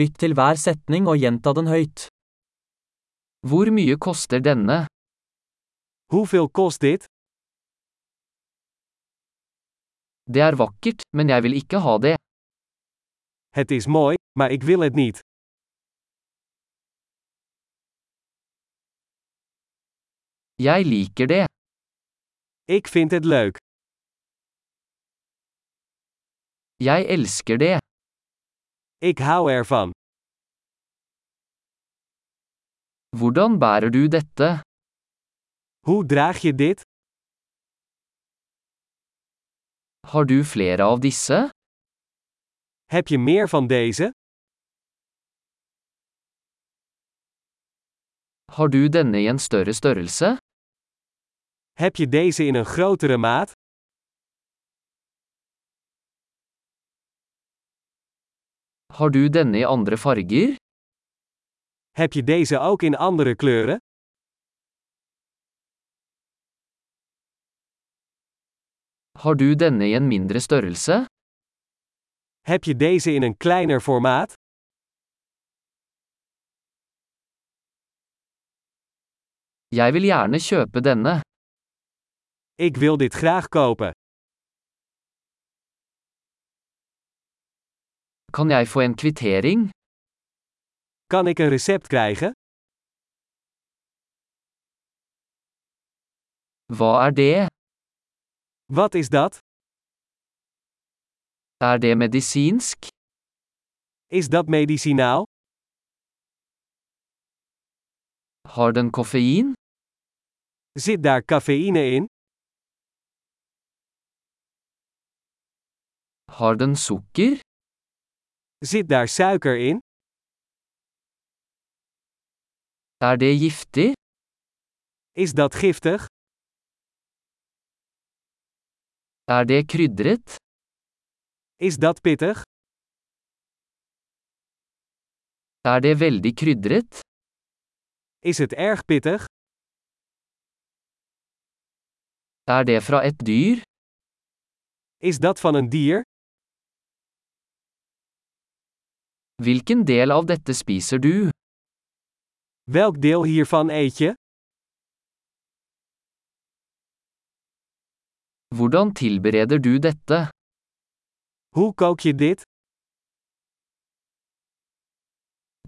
Lytt til hver setning og gjenta den høyt. Hvor mye koster denne? Hoeveel kost dit? Det er vakkert, men jeg vil ikke ha det. Het is mooi, maar ik wil het niet. Jeg liker det. Ik vind het leuk. Jeg elsker det. Ik hou ervan. Hvordan bærer du dette? Hoe draag je dit? Har du flere av disse? Heb je meer van deze? Har du denne i en større størrelse? Heb je deze in een grotere maat? Har du denne i andre farger? Heb je deze ook in andere kleuren? Har du denne i en mindre størrelse? Heb je deze in een kleiner formaat? Jeg vil gjerne kjøpe denne. Ik wil dit graag kopen. Kan jeg få en kvittering? Kan ik een recept krijgen? Hva er det? Wat is dat? Er det medisinsk? Is dat medicinaal? Har den koffein? Zit daar cafeïne in? Har den sukker? Zit daar suiker in? Er det giftig? Is dat giftig? Er det krydret? Is dat pittig? Er det veldig krydret? Is het erg pittig? Er det fra et dyr? Is dat van een dier? Hvilken del av dette spiser du? Welk deel hiervan eet je? Hvordan tilbereder du dette? Hoe kook je dit?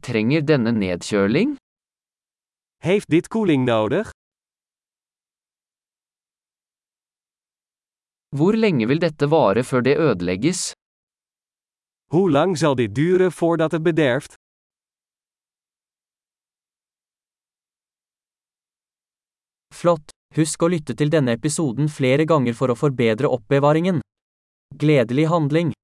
Trenger denne nedkjøling? Heeft dit koeling nodig? Hvor lenge vil dette vare før det ødelegges? Hoe lang zal dit duren voordat het bederft? Flott! Husk å lytte til denne episoden flere ganger for å forbedre oppbevaringen. Gledelig handling!